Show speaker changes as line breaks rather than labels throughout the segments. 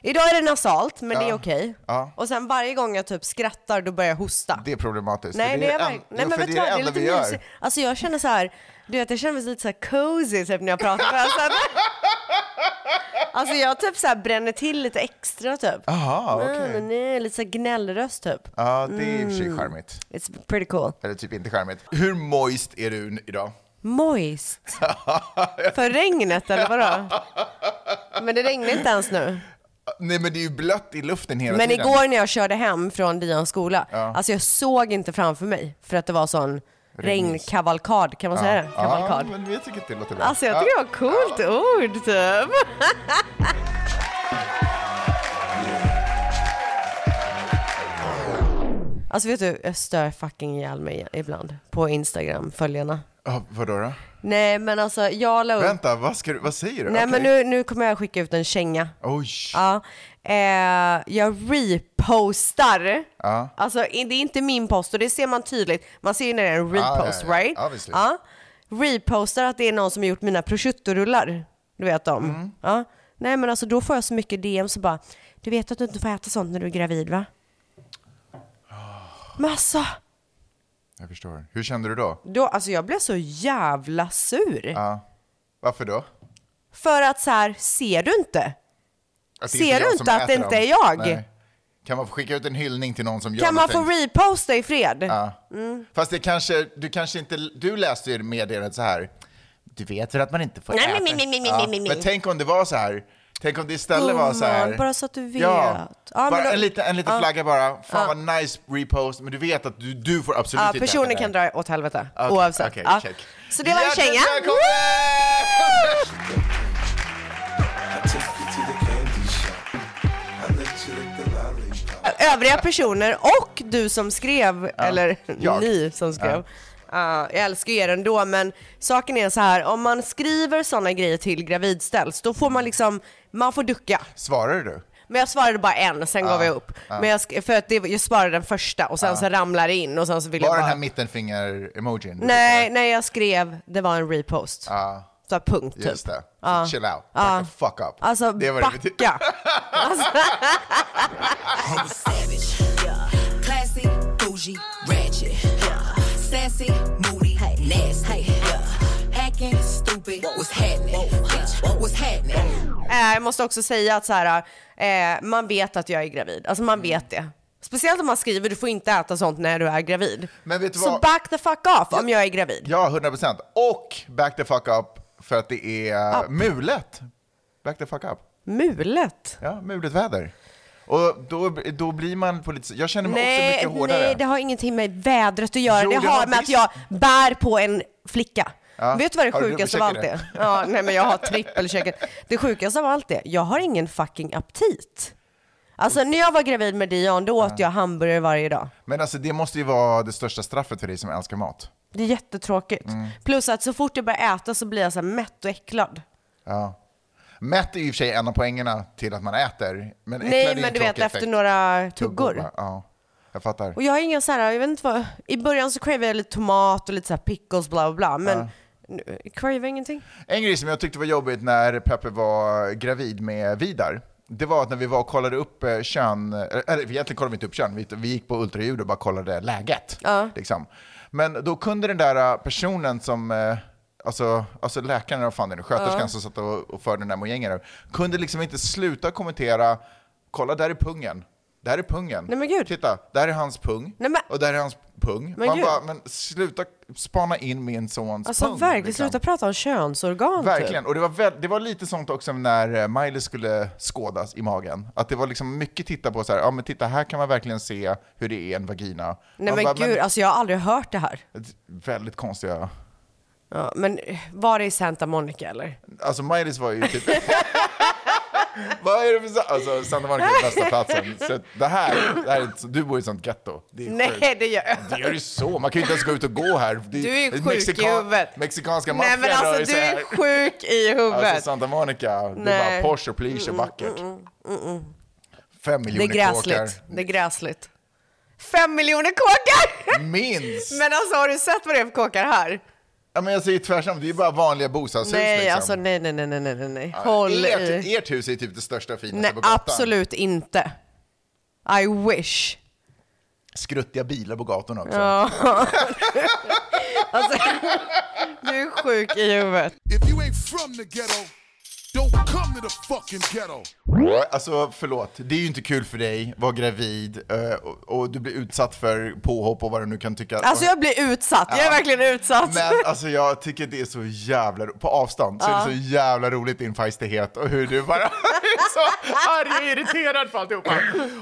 Idag är det nasalt, men det är
Ja.
okej.
Ja.
Och sen varje gång jag typ skrattar, då börjar jag hosta.
Det är problematiskt.
Nej,
för
det är,
det, en-
verkligen-
jo,
Nej men
för
vet du
det är
vad, det
det
är
enda
lite
vi gör.
mysigt. Alltså jag känner så här, du vet jag känner mig lite så här cozy typ när jag pratar med alltså, alltså jag typ så här bränner till lite extra typ.
Jaha, okej.
Nej, nej, nej, lite så här gnällröst typ.
Ja, det är i och
Mm.
för sig charmigt.
It's pretty cool.
Eller typ inte charmigt. Hur moist är du n- idag?
Moist. För regnet eller vadå? Men det regnar inte ens nu.
Nej men det är ju blött i luften hela
Men
tiden.
igår när jag körde hem från Dions skola, alltså jag såg inte framför mig för att det var sån regnkavalkad, kan man säga det? Kavalkad.
Ja, men jag tycker att det låter bra.
Alltså jag tycker det var ett coolt ord typ. Alltså vet du, jag stör fucking ihjäl mig ibland på Instagram, följarna.
Ja, vadå då?
Nej men alltså jag la upp...
Vänta, vad, ska du, vad säger du?
Nej
Okej.
men nu, nu kommer jag skicka ut en känga.
Oj.
Ja. Eh, jag repostar.
Ja.
Alltså i- det är inte min post och det ser man tydligt. Man ser ju när det är en
ja,
repost,
ja.
right?
Obviously.
Ja. Repostar att det är någon som har gjort mina prosciutto-rullar. Du vet dem.
Mm.
Ja. Nej men alltså då får jag så mycket DM så bara, du vet att du inte får äta sånt när du är gravid va?
Ah.
Men alltså,
Jag förstår. Hur kände du då?
då, alltså jag blev så jävla sur.
Ja. Varför då?
För att så här, ser du inte?
Att
Ser du
jag
inte
som
att det
äter
inte
dem?
är jag?
Nej. Kan man få skicka ut en hyllning till någon som gör
Kan man
något
få
fint?
reposta i fred?
Ja. Fast det kanske, du kanske inte, du läste ju meddelandet så här. Du vet väl att man inte får
Nej,
äta?
men, men, men, men,
Ja,
men, men, men.
Men tänk om det var så här. Tänk om det istället var så
Gumman,
här.
bara så att du vet.
Ja,
Ja, men
bara
då-
en liten, en liten flagga bara. Fan vad nice repost, men du vet att du, du får absolut
Ja,
inte äta
personer
det här.
kan dra åt helvete
Okej,
oavsett.
okej,
Ja.
check.
Så det var en
Hjärtligt
känga.
välkommen!
Övriga personer och du som skrev, eller
Jag.
ni som skrev. Ja, jag älskar er ändå, men saken är så här, om man skriver sådana grejer till gravidställs, då får man liksom, man får ducka.
Svarar du?
Men jag svarade bara en, sen gav jag upp. Men jag, sk- för att det, jag svarade den första och sen så ramlade det in och sen så ville
Bara
jag
den
bara...
här mittenfinger-emojin?
Nej, nej, jag skrev, det var en repost.
Ja,
Så här, punkt typ.
just det. Så chill out.
Ja.
Back the fuck up.
Alltså
det var det
backa! Alltså,
Savage, yeah. Classy, bougie, ratchet, yeah. Sassy, moody, nasty, yeah. Hacking, stupid, what's happening? Bitch, what's happening?
eh, jag måste också säga att så här, eh, man vet att jag är gravid. Alltså
Mm.
man vet det. Speciellt om man skriver du får inte äta sånt när du är gravid.
Men vet du
Så
vad?
back the fuck off om jag är gravid.
Ja, 100 procent. Och back the fuck up för att det är mulet. Back the fuck up.
Mulet.
Ja, mulet väder. Och då, då blir man på lite... Jag känner mig också
Nej,
mycket hårdare.
nej, det har ingenting med vädret att göra.
Jo,
det
det
har
har
med att
visst.
jag bär på en flicka.
Ja.
Vet du vad det
Har du
sjukaste av allt
dubbelcheckar
är? Ja, nej men jag har trippelchecken. Det sjukaste av allt är, jag har ingen fucking aptit. Alltså när jag var gravid med Dion, då åt jag hamburgare varje dag.
Men alltså det måste ju vara det största straffet för dig som älskar mat.
Det är jättetråkigt.
Mm.
Plus att så fort jag börjar äta så blir jag så här mätt och äcklad.
Ja. Mätt är i och för sig en av poängerna till att man äter. Men äcklad är ju
Nej,
en
men du
tråkig
vet
effekt.
efter några tuggor.
va? Ja, jag fattar.
Och jag har inga så här, jag vet inte vad, i början så cravade jag lite tomat och lite så här pickles bla bla bla, men nu, jag cravar ingenting.
En grej som jag tyckte var jobbigt när Peppe var gravid med Vidar, det var att när vi var och kollade upp eh, kön, eller egentligen kollade vi inte upp kön, vi, vi gick på ultraljud och bara kollade läget. Liksom. Men då kunde den där eh, personen som, eh, alltså, alltså läkaren, eller vad fan det nu, sköterskan som satt och, och förde den där mojängen, kunde liksom inte sluta kommentera, kolla där är pungen, där är pungen.
Nej, men gud.
Titta, där är hans pung
Nej, men-
och där är hans pung.
Men
Man
gud.
bara, men sluta spana in min sons
Alltså
pung.
verkligen,
liksom.
sluta prata om könsorgan typ.
Verkligen, och det var, väl, det var lite sånt också när eh, Miley skulle skådas i magen. Att det var liksom mycket titta på så här, ja men titta här kan man verkligen se hur det är en vagina.
Nej
Man
men
bara,
gud, alltså jag har aldrig hört det här.
Väldigt konstiga...
Ja, men eh, var det i Santa Monica eller?
Alltså Mileys var ju typ... Vad är det för... sa- Alltså Santa Monica är bästa platsen. Så att det här, det här är, ett- du bor i ett sånt getto. Det är sjukt.
Nej det gör jag
Det är ju så, man kan ju inte ens gå ut och gå här. Det
Du är
det
sjuk i huvudet.
Mexikanska
Nej
maffian
men
rör
alltså
sig
du
här.
är sjuk i huvudet.
Alltså Santa Monica, det är
Nej. Mm,
bara Porsche och plysch och vackert. Fem
det är
miljoner kåkar.
gräsligt. Det är gräsligt. Fem miljoner kåkar!
Minst!
Men alltså har du sett vad det är för kåkar här?
Ja, men jag säger tvärtom, det är bara vanliga bostadshus.
Nej,
liksom.
alltså nej, nej, nej, nej, nej, nej, nej.
Ja,
Håll
ert,
i.
ert hus är typ det största och finaste
Nej,
på gatan.
absolut inte. I wish.
Skruttiga bilar på gatorna också.
Ja. alltså, du är sjuk i huvudet.
If you ain't from the ghetto, don't come to the fucking ghetto.
Alltså förlåt, det är ju inte kul för dig, vara gravid eh, och, och du blir utsatt för påhopp och vad du nu kan tycka.
Alltså jag blir utsatt, jag är verkligen utsatt.
Men alltså jag tycker det är så jävla, ro- på avstånd så är det så jävla roligt din feistighet och hur du bara är så arg och irriterad på alltihopa.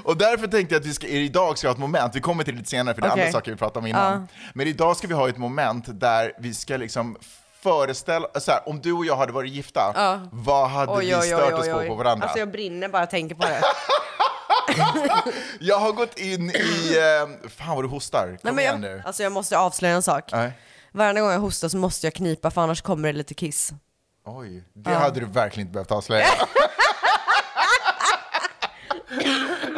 Och därför tänkte jag att vi ska, idag ska ha ett moment, vi kommer till det lite senare för det är
Okej.
andra saker vi pratade om innan. Men idag ska vi ha ett moment där vi ska liksom föreställa, så här, om du och jag hade varit gifta, vad hade vi stört oss på på varandra?
Alltså jag brinner bara jag tänker på det.
Jag har gått in i... Eh, fan vad du hostar. Kom
Nej, men
igen
jag,
nu.
alltså jag måste avslöja en sak.
Nej.
Varenda gång jag hostar så måste jag knipa för annars kommer det lite kiss.
Oj, det hade du verkligen inte behövt avslöja.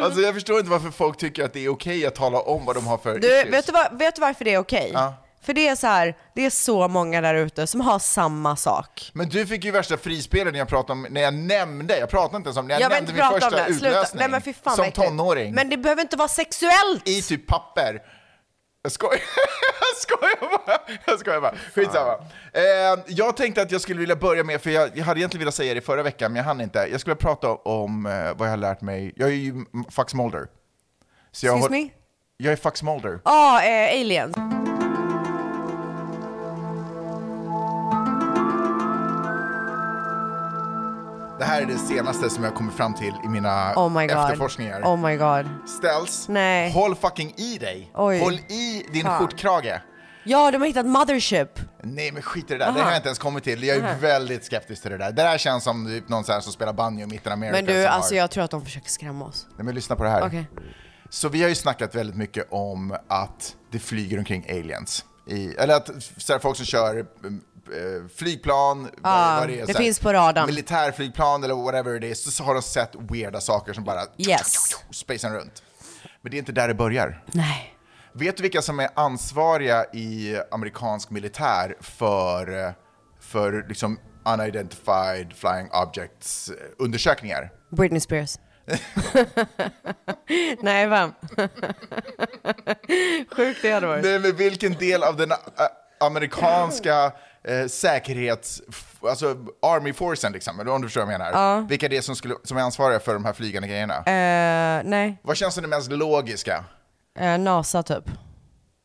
alltså jag förstår inte varför folk tycker att det är okej att tala om vad de har för
Du,
issues.
vet, du vad, vet du varför det är okej?
Ja.
För det är så här, det är så många där ute som har samma sak.
Men du fick ju värsta frispelet när jag pratade om, när jag nämnde, jag pratade inte ens om det, jag,
Jag vill
nämnde
inte
min
prata om
första
det. Sluta.
utlösning
Nej, men fy fan,
som
vad äckligt.
tonåring.
Men det behöver inte vara sexuellt.
I typ papper. Jag skojar, jag skojar bara. Jag skojar bara. Skitsamma. Eh, jag tänkte att jag skulle vilja börja med, för jag, jag hade egentligen velat säga det förra veckan, men jag hann inte. Jag skulle prata om eh, vad jag har lärt mig. Jag är ju m- Fax Mulder. Så jag
Excuse
har-
me?
Jag är Fax Mulder.
Ja, eh, aliens.
Det här är det senaste som jag kommit fram till i mina
Oh my god.
efterforskningar.
Oh my god.
Ställs,
Nej.
håll fucking i dig.
Oj.
Håll i din
Fan.
skjortkrage.
Ja, de har hittat mothership.
Nej men skit i det där, det har jag inte ens kommit till. Jag är väldigt skeptisk till det där. Det där känns som typ någon så här som spelar banjo i mitten av Amerika.
Men du,
som
alltså
har...
jag tror att de försöker skrämma oss.
Nej men lyssna på det här.
Okej.
Så vi har ju snackat väldigt mycket om att det flyger omkring aliens. I, eller att så här, folk som kör eh, flygplan,
Ja,
vad är,
det
så här,
finns på radarn.
Militärflygplan eller whatever det är, så, så har de sett weirda saker som bara
Yes.
spacen runt. Men det är inte där det börjar.
Nej.
Vet du vilka som är ansvariga i amerikansk militär för, eh, för liksom unidentified flying objects eh, undersökningar?
Britney Spears. Nej, vem? Sjukt det hade varit.
Nej, men vilken del av den eh, amerikanska eh, säkerhets... f- Alltså Army Forcen liksom, eller om du förstår vad jag menar. Vilka det är som, skulle, som är ansvariga för de här flygande grejerna.
Eh, nej,
Vad känns som det mest logiska?
Eh, NASA typ.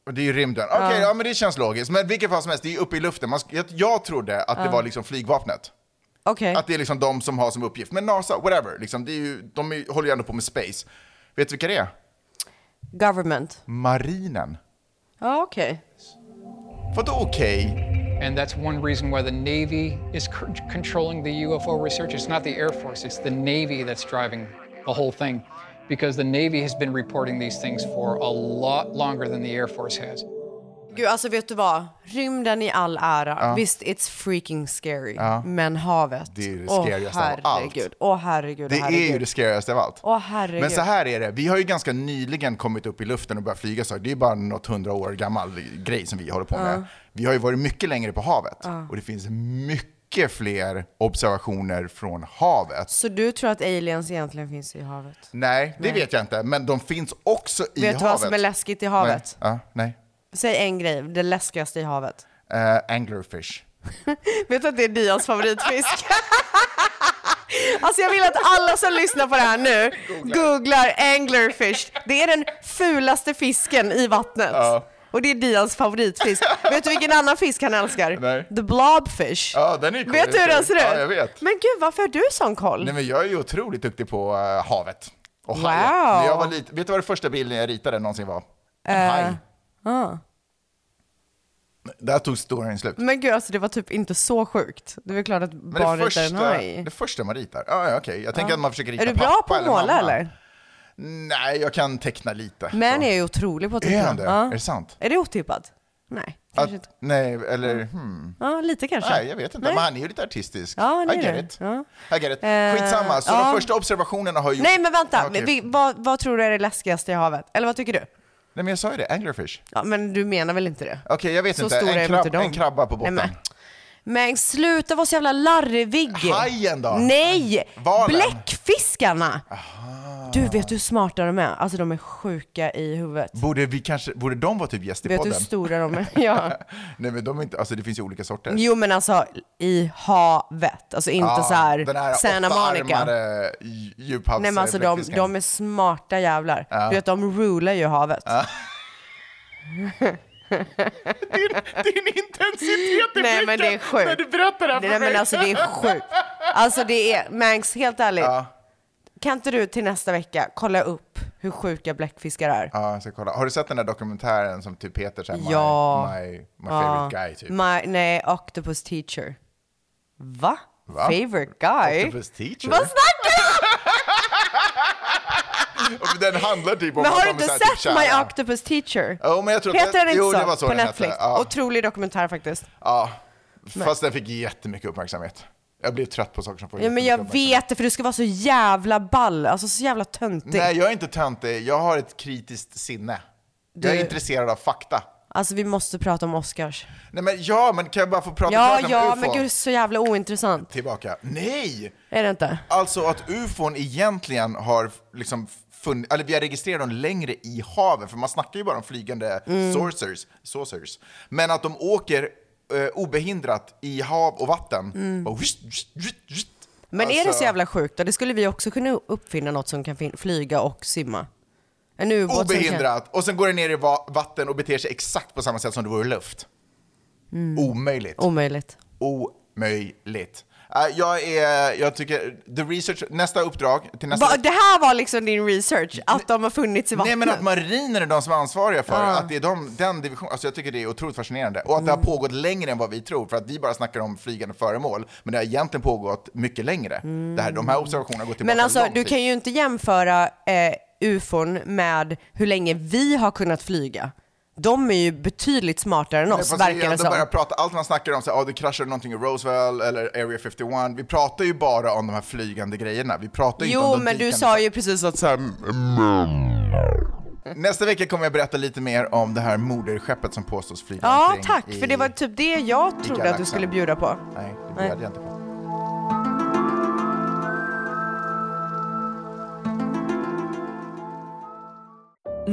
Och Det är ju rymden. Okej, ja men det känns logiskt. Men vilket fall som helst, det är ju uppe i luften. Man, sk- jag, jag trodde att det var liksom flygvapnet.
Okej.
Att det är liksom de som har som uppgift. Men NASA, whatever. Liksom, det är ju, de är, håller ju ändå på med space. Vet du vilka det är?
Government.
Marinen.
Ja, okej.
Vadå okej?
And that's one reason why the Navy is c- controlling the UFO research. It's not the Air Force, it's the Navy that's driving the whole thing because the Navy has been reporting these things for a lot longer than the Air Force has.
Gud, alltså vet du vad? Rymden i all ära. Visst, it's freaking scary. Men havet.
Det är det
Åh,
scarigaste av allt.
herregud. Åh herregud,
Det
åh, herregud.
är ju det scarigaste av allt.
Åh, herregud.
Men så här är det, vi har ju ganska nyligen kommit upp i luften och börjat flyga saker. Det är ju bara något hundra år gammal grej som vi håller på med. Vi har ju varit mycket längre på havet och det finns mycket fler observationer från havet.
Så du tror att aliens egentligen finns i havet?
Nej, det vet jag inte, men de finns också i
vet
havet.
du vad som är läskigt i havet?
Nej. Ja, nej.
Säg en grej, det läskigaste i havet.
Eh, anglerfish.
Vet du att det är Dias favoritfisk? alltså jag vill att alla som lyssnar på det här nu googlar anglerfish. Det är den fulaste fisken i vattnet. Och det är Dias favoritfisk. vet du vilken annan fisk han älskar?
Nej.
The blobfish.
Ja, den är cool.
vet du hur den ser ut?
Ja, jag vet.
Men gud, varför har du sån koll?
Nej men jag är ju otroligt duktig på eh, havet. Och
Wow. Eh,
hajar. När jag var liten, vet du vad den första bilden jag ritade någonsin var? En haj.
ah.
Där tog storyn slut.
Men gud, alltså det var typ inte så sjukt. Det är väl klart att barn ritar en haj.
det första man ritar, ja ja, okej. Jag tänker att man försöker rita
Är du bra
pappa
på att
eller
måla
mamma.
eller?
Nej, jag kan teckna lite.
Men är ju otrolig på att
Så. Är
teckna.
han det?
Ja.
Är det sant?
Är det otippat? Nej,
Att,
kanske inte.
nej, eller hmm.
Ja, lite kanske.
Nej, jag vet inte.
Nej.
Men han är ju lite artistisk.
Ja, han
I
är
get
det.
it.
Ja.
I get it.
Eh,
Skitsamma, så
ja.
de första observationerna har ju...
Nej men vänta,
Okej.
vi, vad, vad tror du är det läskigaste i havet? Eller vad tycker du?
Nej, men jag sa ju det. Anglerfish.
Ja, men du menar väl inte det?
Okej, jag vet
Så
inte.
stora är
En,
väl
krabb,
inte de?
en krabba på botten.
Nej, men. men sluta vara så jävla larvig.
Hajen då?
Nej!
Valen?
Bläckfiskarna! Du, vet du hur smarta de är? Alltså de är sjuka i huvudet.
Borde, vi kanske, borde de vara typ gäst i
Vet du
podden?
hur stora de är? Ja.
Nej, men de är inte, alltså, det finns ju olika sorter.
Jo men alltså i havet, alltså inte
Ja,
så här
Ah, den här
Santa Monica. Nej
åttaarmade dj- djuphavs-
men alltså de,
bläckfisken.
de är smarta jävlar. Du vet de rular ju havet.
Din intensitet i
Nej men det är sjukt. När du berättar det här Nej men alltså det är sjukt. Alltså det är, Mangs helt ärligt. Kan inte du till nästa vecka kolla upp hur sjuka bläckfiskar är?
Ja, jag ska kolla. Har du sett den där dokumentären som typ heter så här, my,
Ja.
my, my favorite guy typ?
My, nej, Octopus teacher. Va?
Va?
Favorite guy?
Octopus teacher?
Vad snackar du
Och Den handlar typ om
Men
att
har du
de är
inte
så här, typ
sett My
kära.
Octopus teacher?
Jo, men jag tror att
Heter
den-
den inte
jo,
så?
det var så
på
den hette,
Netflix?
ja.
Otrolig dokumentär faktiskt.
Ja, fast den fick jättemycket uppmärksamhet. Jag blir trött på saker som får
Ja, men
jättemycket
jag
uppmärksamhet.
vet det, för du ska vara så jävla ball, alltså så jävla töntig.
Nej, jag är inte töntig. Jag har ett kritiskt sinne. Jag är
Du-
intresserad av fakta.
Alltså vi måste prata om Oscars.
Nej, men ja, men kan jag bara få prata
Ja,
klart om
ja,
UFO?
men gud så jävla ointressant.
Tillbaka. Nej!
Är det inte?
Alltså att ufon egentligen har liksom funnits, eller vi har registrerat dem längre i haven, för man snackar ju bara om flygande
Mm.
saucers, saucers. Men att de åker eh, obehindrat i hav och vatten. Bara wist, wist, wist,
Mm.
wist.
Men är det
Alltså,
så jävla sjukt då? Det skulle vi också kunna uppfinna något som kan fin- flyga och simma. En ubåt som kan-
Obehindrat, och sen går det ner i va- vatten och beter sig exakt på samma sätt som det vore luft.
Mm.
Omöjligt.
Omöjligt.
Omöjligt. Äh, jag, är, jag tycker, the research, nästa uppdrag till nästa
Va, det här var liksom din research, att de har funnits i
Alltså- Nej
vattnet?
men att marinen är de som är ansvariga för att det är de, den divisionen, alltså jag tycker det är otroligt fascinerande. Och att
Mm.
det har pågått längre än vad vi tror, för att vi bara snackar om flygande föremål, men det har egentligen pågått mycket längre. Det här, de här observationerna går tillbaka
Mm. Men alltså,
lång
du
tid.
kan ju inte jämföra eh, ufon med hur länge vi har kunnat flyga. De är ju betydligt smartare än oss,
Fast vi
verkar det
ändå
som.
börjar prata, allt man snackar om, så här, ah, det kraschade någonting i Roswell eller Area 51, vi pratar ju bara om de här flygande grejerna. Vi pratar ju inte om
Jo,
de
men du
dykande
sa ju precis att så här,
mm. Nästa vecka kommer jag berätta lite mer om det här moderskeppet som påstås flyga
Ja,
omkring
tack,
i...
för det var typ det jag trodde att du
galaxen.
skulle bjuda på.
Nej, det
Nej.
bjöd jag inte på.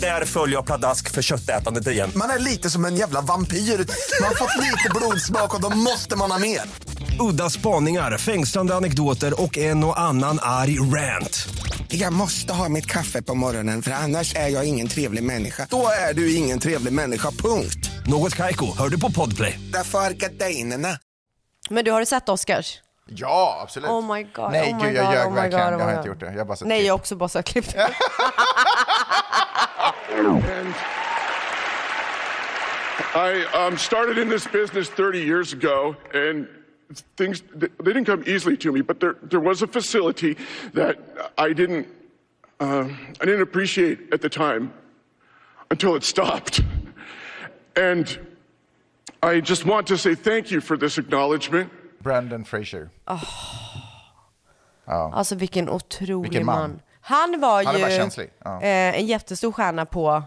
Där följer jag pladask för köttätandet igen.
Man är lite som en jävla vampyr. Man har fått lite blodsmak och då måste man ha mer.
Udda spaningar, fängslande anekdoter och en och annan arg rant.
Jag måste ha mitt kaffe på morgonen för annars är jag ingen trevlig människa. Då är du ingen trevlig människa, punkt.
Något Kaiko, hör du på Podplay.
Därför är gardinerna.
Men du, har du sett Oscars?
Ja, absolut.
Oh my god,
Nej,
oh my
gud, jag
god,
ljög
oh my
verkligen.
god, oh
jag
my
har
god.
inte gjort det. Jag har bara typ sett
Nej,
klipp.
jag har också bara sett klipp.
I um, started in this business 30 years ago, and things they didn't come easily to me. But there there was a facility that I didn't uh, I didn't appreciate at the time until it stopped, and I just want to say thank you for this acknowledgement.
Brandon Fraser.
Alltså vilken otrolig
Vilken man.
man. Han var
Han är
ju
bara känslig, ja.
eh, en jättestor stjärna på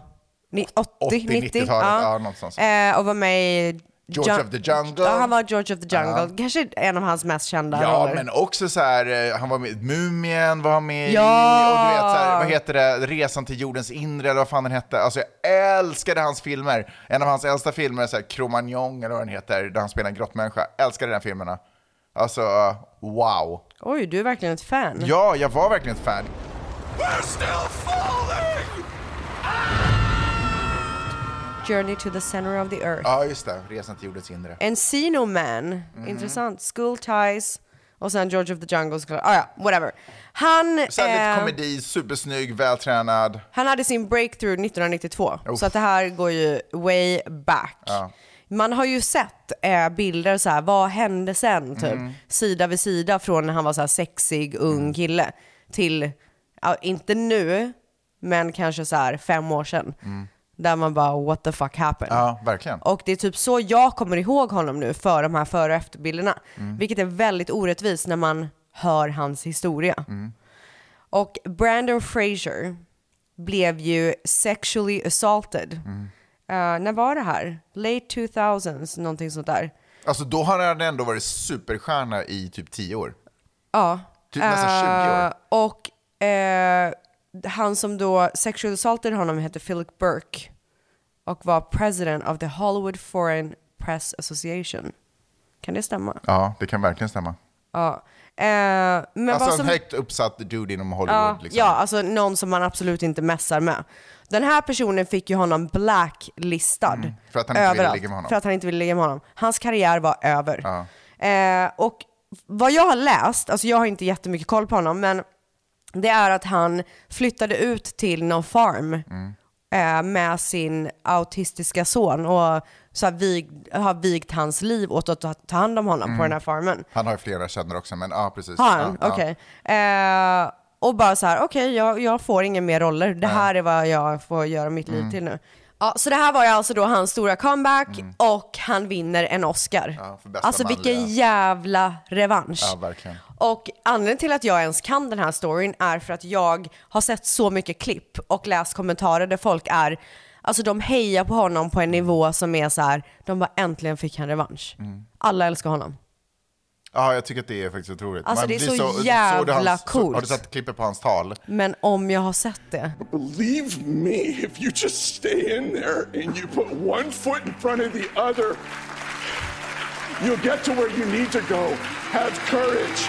ni- 80, 90,
90-talet, ja, någonstans.
Eh, och var med i
George
Jun-
of the Jungle.
Ja, han var George of the Jungle. Kanske en av hans mest kända
Ja,
roller.
men också så här, eh, han var med i Mumien, var han med i-
Ja!
och du vet så här, vad heter det, Resan till jordens inre eller vad fan den hette. Alltså jag älskade hans filmer. En av hans äldsta filmer är så här, Cromagnon eller vad den heter, där han spelar en grottmänniska. Älskade den filmerna. Alltså, eh, wow.
Oj, du är verkligen ett fan.
Ja, jag var verkligen ett fan.
Journey to the center of the earth.
Ja, Mm. just det, Resan till jordens inre.
Encino Man, intressant. School Ties och sen George of the Jungle såklart. Ah, ja, whatever. Han,
Sen lite
eh,
komedi, supersnygg, vältränad.
han hade sin breakthrough 1992, så att det här går ju way back. Man har ju sett eh, bilder så här, vad hände sen? Typ. Sida vid sida från när han var så här sexig, ung kille till, ja, inte nu, men kanske så här fem år sedan. Där man bara, what the fuck happened?
Ja, verkligen.
Och det är typ så jag kommer ihåg honom nu för de här före och efterbilderna.
Mm.
Vilket är väldigt orättvist när man hör hans historia.
Mm.
Och Brandon Fraser blev ju sexually assaulted.
Mm.
Eh, när var det här? Late 2000s, någonting sånt där.
Alltså då har han ändå varit superstjärna i typ 10 år.
Ja.
Typ nästan 20 år.
Eh, och eh, han som då sexual assaulted honom hette Philip Burke och var president of the Hollywood Foreign Press Association. Kan det stämma?
Ja, det kan verkligen stämma.
Ja. Eh, men vad
Alltså
som,
en högt uppsatt dude inom Hollywood. liksom.
Ja, alltså någon som man absolut inte mässar med. Den här personen fick ju honom blacklistad.
Mm, för att han inte ville ligga med honom.
För att han inte ville ligga med honom. Hans karriär var över. Eh, och vad jag har läst, alltså jag har inte jättemycket koll på honom, men det är att han flyttade ut till någon farm
Mm.
eh, med sin autistiska son och så har, vig, har vigt hans liv åt att ta- ta hand om honom
Mm.
på den här farmen.
Han har ju flera kändor också, men ja, precis.
Har han?
Ja, ja.
Okej. Eh, och bara så här, okej, jag, jag får inga mer roller. Det här är vad jag får göra mitt liv
Mm.
till nu. Ja, så det här var ju alltså då hans stora comeback och han vinner en Oscar.
Mm. Ja, för bästa
alltså vilken
manliga.
jävla revansch.
Ja, verkligen.
Och anledningen till att jag ens kan den här storyn är för att jag har sett så mycket klipp och läst kommentarer där folk är, alltså de hejar på honom på en
Mm.
nivå som är så här, de bara äntligen fick han revansch.
Mm.
Alla älskar honom.
Ja, jag tycker att det är faktiskt otroligt.
Alltså, det är
blir
så
såg du
jävla
hans,
coolt.
har du sett klippet på hans tal?
Men om jag har sett det.
Believe me, if you just stay in there and you put one foot in front of the other, you'll get to where you need to go. Have courage.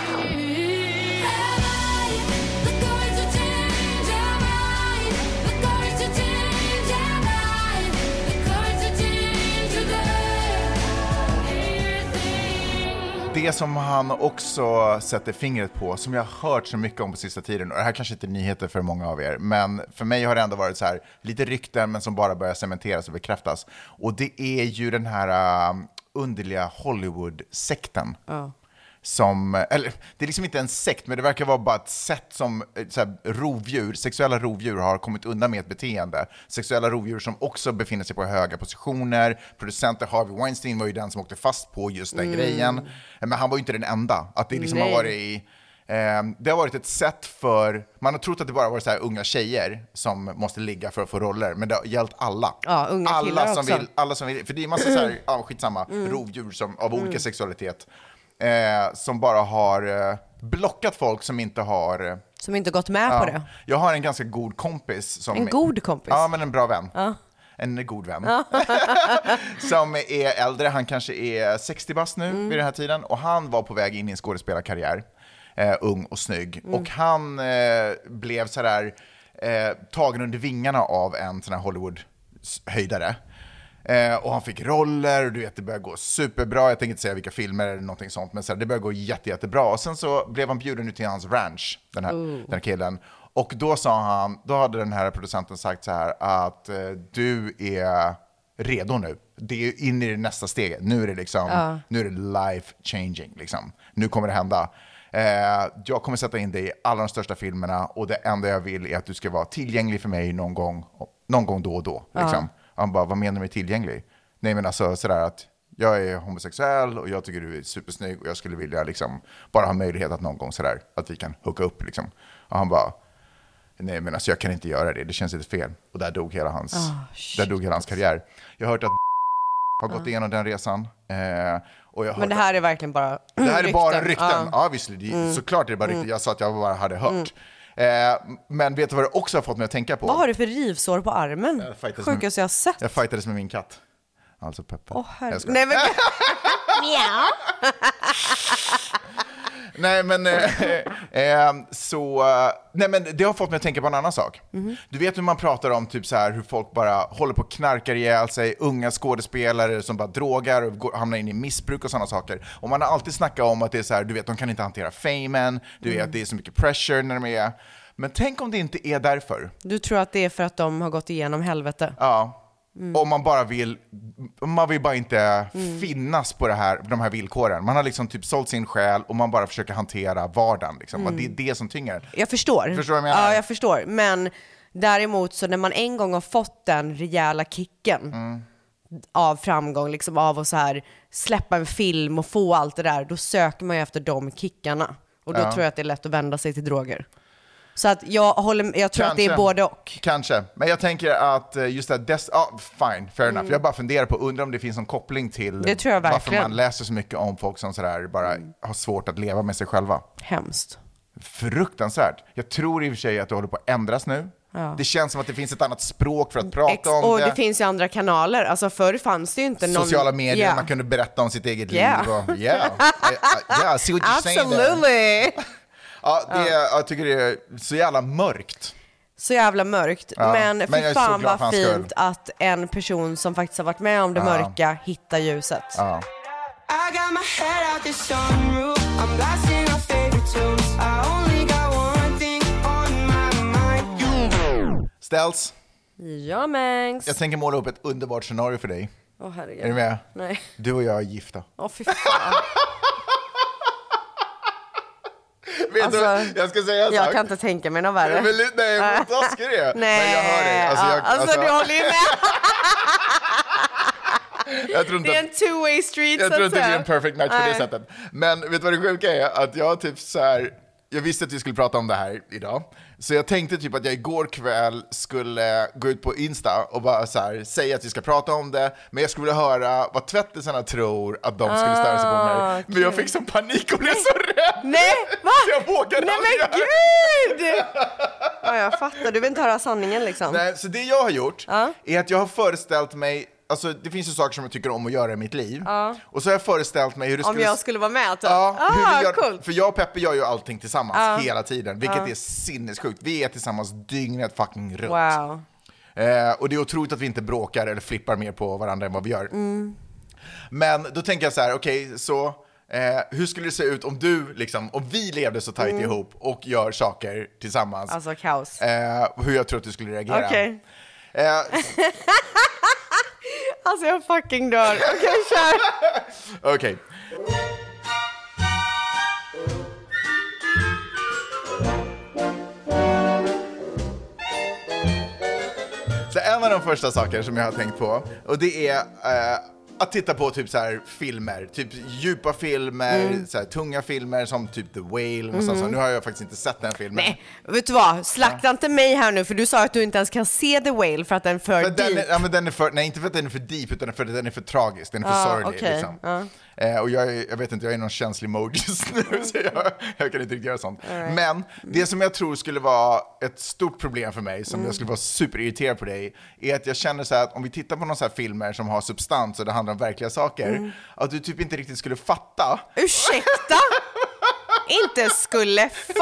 Det som han också sätter fingret på, som jag har hört så mycket om på sista tiden, och det här kanske inte är nyheter för många av er, men för mig har det ändå varit så här, lite rykten men som bara börjar cementeras och bekräftas. Och det är ju den här um, underliga Hollywood-sekten. Som, eller det är liksom inte en sekt, men det verkar vara bara ett sätt som eh, så här, rovdjur, sexuella rovdjur har kommit undan med ett beteende. Sexuella rovdjur som också befinner sig på höga positioner. Producenter Harvey Weinstein var ju den som åkte fast på just den grejen. Eh, Men han var ju inte den enda. Att det liksom har
Nej.
varit i, eh, det har varit ett sätt för, man har trott att det bara varit så här unga tjejer som måste ligga för att få roller, men det har gällt alla.
Ja, unga killar
alla som
också. Mm.
vill alla som vill, för det är massa så här, ja, skitsamma, rovdjur som, av olika sexualitet eh, som bara har eh, blockat folk som inte har... eh,
Som inte gått med på
ja.
det.
Jag har en ganska god kompis. Som,
En god kompis?
Ja, men en bra vän. En god vän. som är äldre, han kanske är 60 bast nu vid den här tiden. Och han var på väg in i en skådespelarkarriär, eh, ung och snygg. Och han eh, blev sådär eh, tagen under vingarna av en sån här Hollywood-höjdare. Eh, och han fick roller och du vet, det började gå superbra. Jag tänker inte säga vilka filmer eller någonting sånt, men så här, det började gå jätte, jättebra. Och sen så blev han bjuden ut till hans ranch, den här, den här killen. Och då sa han, då hade den här producenten sagt så här att eh, du är redo nu. Det är ju in i det nästa steget. Nu är det liksom, nu är det life changing liksom. Nu kommer det hända. Eh, jag kommer sätta in dig i alla de största filmerna och det enda jag vill är att du ska vara tillgänglig för mig någon gång, någon gång då och då. Liksom. Han bara, vad menar du med tillgänglig? Nej men alltså sådär att jag är homosexuell och jag tycker du är supersnygg och jag skulle vilja liksom bara ha möjlighet att någon gång sådär, att vi kan hooka upp liksom. Och han bara, nej men alltså jag kan inte göra det, det känns lite fel. Och där dog hela hans, där dog hela hans karriär. Jag har hört att har gått igenom den resan. Eh, och jag har
Men det här är verkligen bara
det här är bara rykten.
Ja. Mm.
Ja, visst, det, såklart är det bara rykten. Jag sa att jag bara hade hört. Eh, men vet du vad det också har fått mig att tänka på?
Vad har du för rivsår på armen?
Jag fightades med-
Sjukaste jag har sett.
Jag fightades med min katt. Alltså Peppe.
Åh, herre-
Jag skojar.
Nej, men...
Nej, men, eh, eh, så, eh, nej, men det har fått mig att tänka på en annan sak. Du vet hur man pratar om typ så här, hur folk bara håller på och knarkar ihjäl sig, unga skådespelare som bara drogar och går, hamnar in i missbruk och sådana saker. Och man har alltid snackat om att det är så här, du vet, de kan inte hantera famen, du vet, det är så mycket pressure när de är... Men tänk om det inte är därför.
Du tror att det är för att de har gått igenom helvete?
Ja.
Mm.
Om man bara vill, man vill bara inte finnas på det här, de här villkoren. Man har liksom typ sålt sin själ och man bara försöker hantera vardagen. Liksom. Och Det är det som tynger.
Mm. Jag förstår.
Förstår du vad jag menar?
Ja, jag förstår. Men däremot så när man en gång har fått den rejäla kicken
Mm.
av framgång, liksom av att så här släppa en film och få allt det där, då söker man ju efter de kickarna. Och då tror jag att det är lätt att vända sig till droger. Så att jag, håller, jag tror att det är
Kanske.
både och.
Kanske, men jag tänker att eh, just det här, dess- ja fine, fair enough. Jag bara funderar på, undrar om det finns någon koppling till
Mm. Det tror jag
varför
verkligen. Mm.
man läser så mycket om folk som sådär bara har svårt att leva med sig själva.
Hemskt.
Fruktansvärt. Jag tror i och för sig att det håller på att ändras nu. Det känns som att det finns ett annat språk för att prata
Ex-
om
och
det.
det finns ju andra kanaler. Alltså förr fanns det ju inte någon...
sociala medier,
Yeah.
man kunde berätta om sitt eget
Yeah.
liv. Och, yeah. I, I, yeah, I see what you're saying there.
Absolutely!
Ja, det, jag tycker det är så jävla mörkt.
Så jävla mörkt. men
men
fy
jag är så
fan
glad för
vad
hans skull.
fint att en person som faktiskt har varit med om det mörka hittar ljuset.
Ja.
I got my head out the sunroof. I'm blasting our favorite tunes. I only got one thing on my mind.
Ställs,
Ja, mängs.
jag tänker måla upp ett underbart scenario för dig.
Åh
Är du
herregud.
med?
Nej.
Du och jag är gifta.
Åh fy fan.
Vet du,
Alltså,
jag ska säga en
Jag
sak.
kan inte tänka mig något värre.
Nej, men lite- nej, men vad ska det? Men
Nej.
jag hör dig. Alltså, jag-
Ja, alltså, du
alltså-
håller ju med.
Jag tror inte
Det är
att-
en two-way street
jag
så att
tror inte det
säga.
blir en perfect match på det
Nej.
sättet. Men vet du vad det sjuka är? Att jag typ så här, jag visste att vi skulle prata om det här idag. Så jag tänkte typ att jag igår kväll skulle gå ut på Insta och bara så här, säga att vi ska prata om det. Men jag skulle vilja höra vad tvättisarna tror att de skulle störa sig på mig. Men jag fick sån panik och blev så rädd.
Ah, Nej, va?
Så jag vågade
Nej
aldrig
men
göra det.
gud! Ja, jag fattar. Du vill inte höra sanningen liksom.
Nej, så det jag har gjort är att jag har föreställt mig, alltså det finns ju saker som jag tycker om att göra i mitt liv. Och så har jag föreställt mig hur det
Om
skulle...
jag skulle vara med typ.
Ja, hur
ah,
vi gör,
coolt. Ah.
För jag och Peppe gör ju allting tillsammans hela tiden, vilket är sinnessjukt. Vi är tillsammans dygnet fucking runt.
Wow.
Eh, och det är otroligt att vi inte bråkar eller flippar mer på varandra än vad vi gör.
Mm.
Men då tänker jag så här, okej, så eh, hur skulle det se ut om du, liksom, om vi levde så tajt ihop och gör saker tillsammans?
Mm. Alltså kaos.
eh, hur jag tror att du skulle reagera.
Okej.
Eh,
Alltså jag fucking dör. Okej, kör.
Okej. Så en av de första saker som jag har tänkt på, och det är eh, att titta på typ så här filmer, typ djupa filmer, så här, tunga filmer som typ The Whale. och sånt. Så nu har jag faktiskt inte sett den filmen.
Nej, vet du vad? Slakta inte mig här nu för du sa att du inte ens kan se The Whale för att den är för
Men den
deep.
är, ja, men den är för, nej, inte för att den är för deep, utan för att den är för tragisk, den är för
Ja,
sorglig.
Ah, okej,
Liksom.
ja.
Eh, och jag, är- jag vet inte, jag är i någon känslig mode just nu, så jag, jag kan inte riktigt göra sånt. Men det som jag tror skulle vara ett stort problem för mig, som
Mm.
jag skulle vara superirriterad på dig, är att jag känner så här att om vi tittar på några så här filmer som har substans och det handlar om verkliga saker,
Mm.
att du typ inte riktigt skulle fatta.
Ursäkta? inte skulle fatta.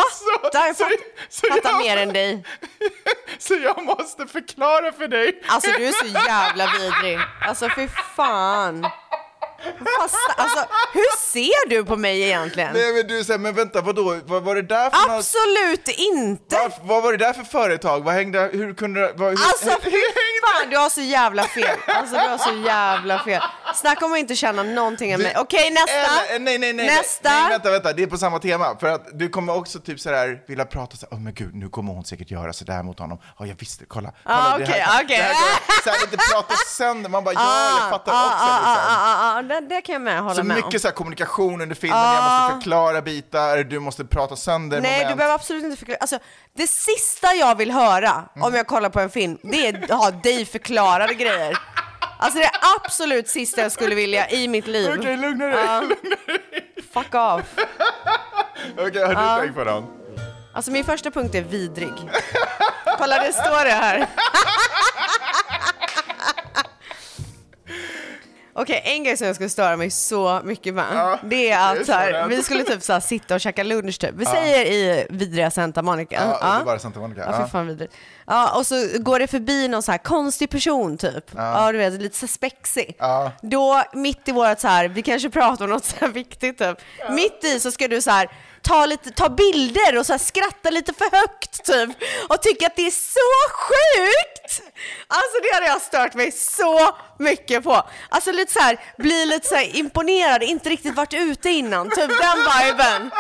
Jag
Så-
fatt,
så- så
fattar
jag-
mer än dig.
Så jag måste förklara för dig.
Alltså du är så jävla vidrig. Alltså fy fan. Fast, alltså, hur ser du på mig egentligen?
Nej men du säger, men vänta, vadå, vad var det där för något?
Absolut inte!
Varf- vad var det där för företag? Vad hängde, hur kunde det... Vad, hur,
Alltså
hur,
fy fan, du har så jävla fel. Alltså du har så jävla fel. Snacka om att inte känna någonting av mig. Okej nästa!
Eller- nej, nej, nej,
nästa!
Nej, vänta, vänta, det är på samma tema. För att du kommer också typ så här vilja prata så här, oh, men gud, nu kommer hon säkert göra så där mot honom. Ja, jag visste, kolla. kolla
Ah,
det
okej,
här- det
okej.
här går- Så här inte prata sönder, man bara, ja, jag fattar
ah,
också.
ah,
liksom.
ah, ah, ah, det, det kan jag med hålla
Så
med om. Ah.
mycket så här kommunikation under filmen, jag måste förklara bitar, du måste prata sönder
Nej, du
moment.
behöver absolut inte förklara. Alltså, det sista jag vill höra
Mm.
om jag kollar på en film, det är att ha dig förklarade grejer. Alltså det är absolut sista jag skulle vilja i mitt liv.
Okej, lugna dig.
Ah. Fuck off.
Okej, har
Ah.
du tänkt på den?
Alltså min första punkt är vidrig. Kolla, det står det här. Okej, en grej som jag skulle störa mig så mycket med,
Ja,
det är
jag är
att
så
så här,
rädd.
vi skulle typ så här, sitta och käka lunch typ. Vi säger i vidriga Santa Monica.
Ja, underbara Santa Monica,
Ja,
ja.
fy fan vidrigt. Ja, och så går det förbi någon så här konstig person typ. Ja, du vet, lite så här spexig.
Ja.
Då, mitt i vårat så här, vi kanske pratar om något så här viktigt typ. Mitt i så ska du så här, ta, lite, ta bilder och så här, skratta lite för högt typ. Och tycka att det är så sjukt! Alltså det hade jag stört mig så mycket på. Alltså lite så här, bli lite så här imponerad, inte riktigt varit ute innan. Typ den viben.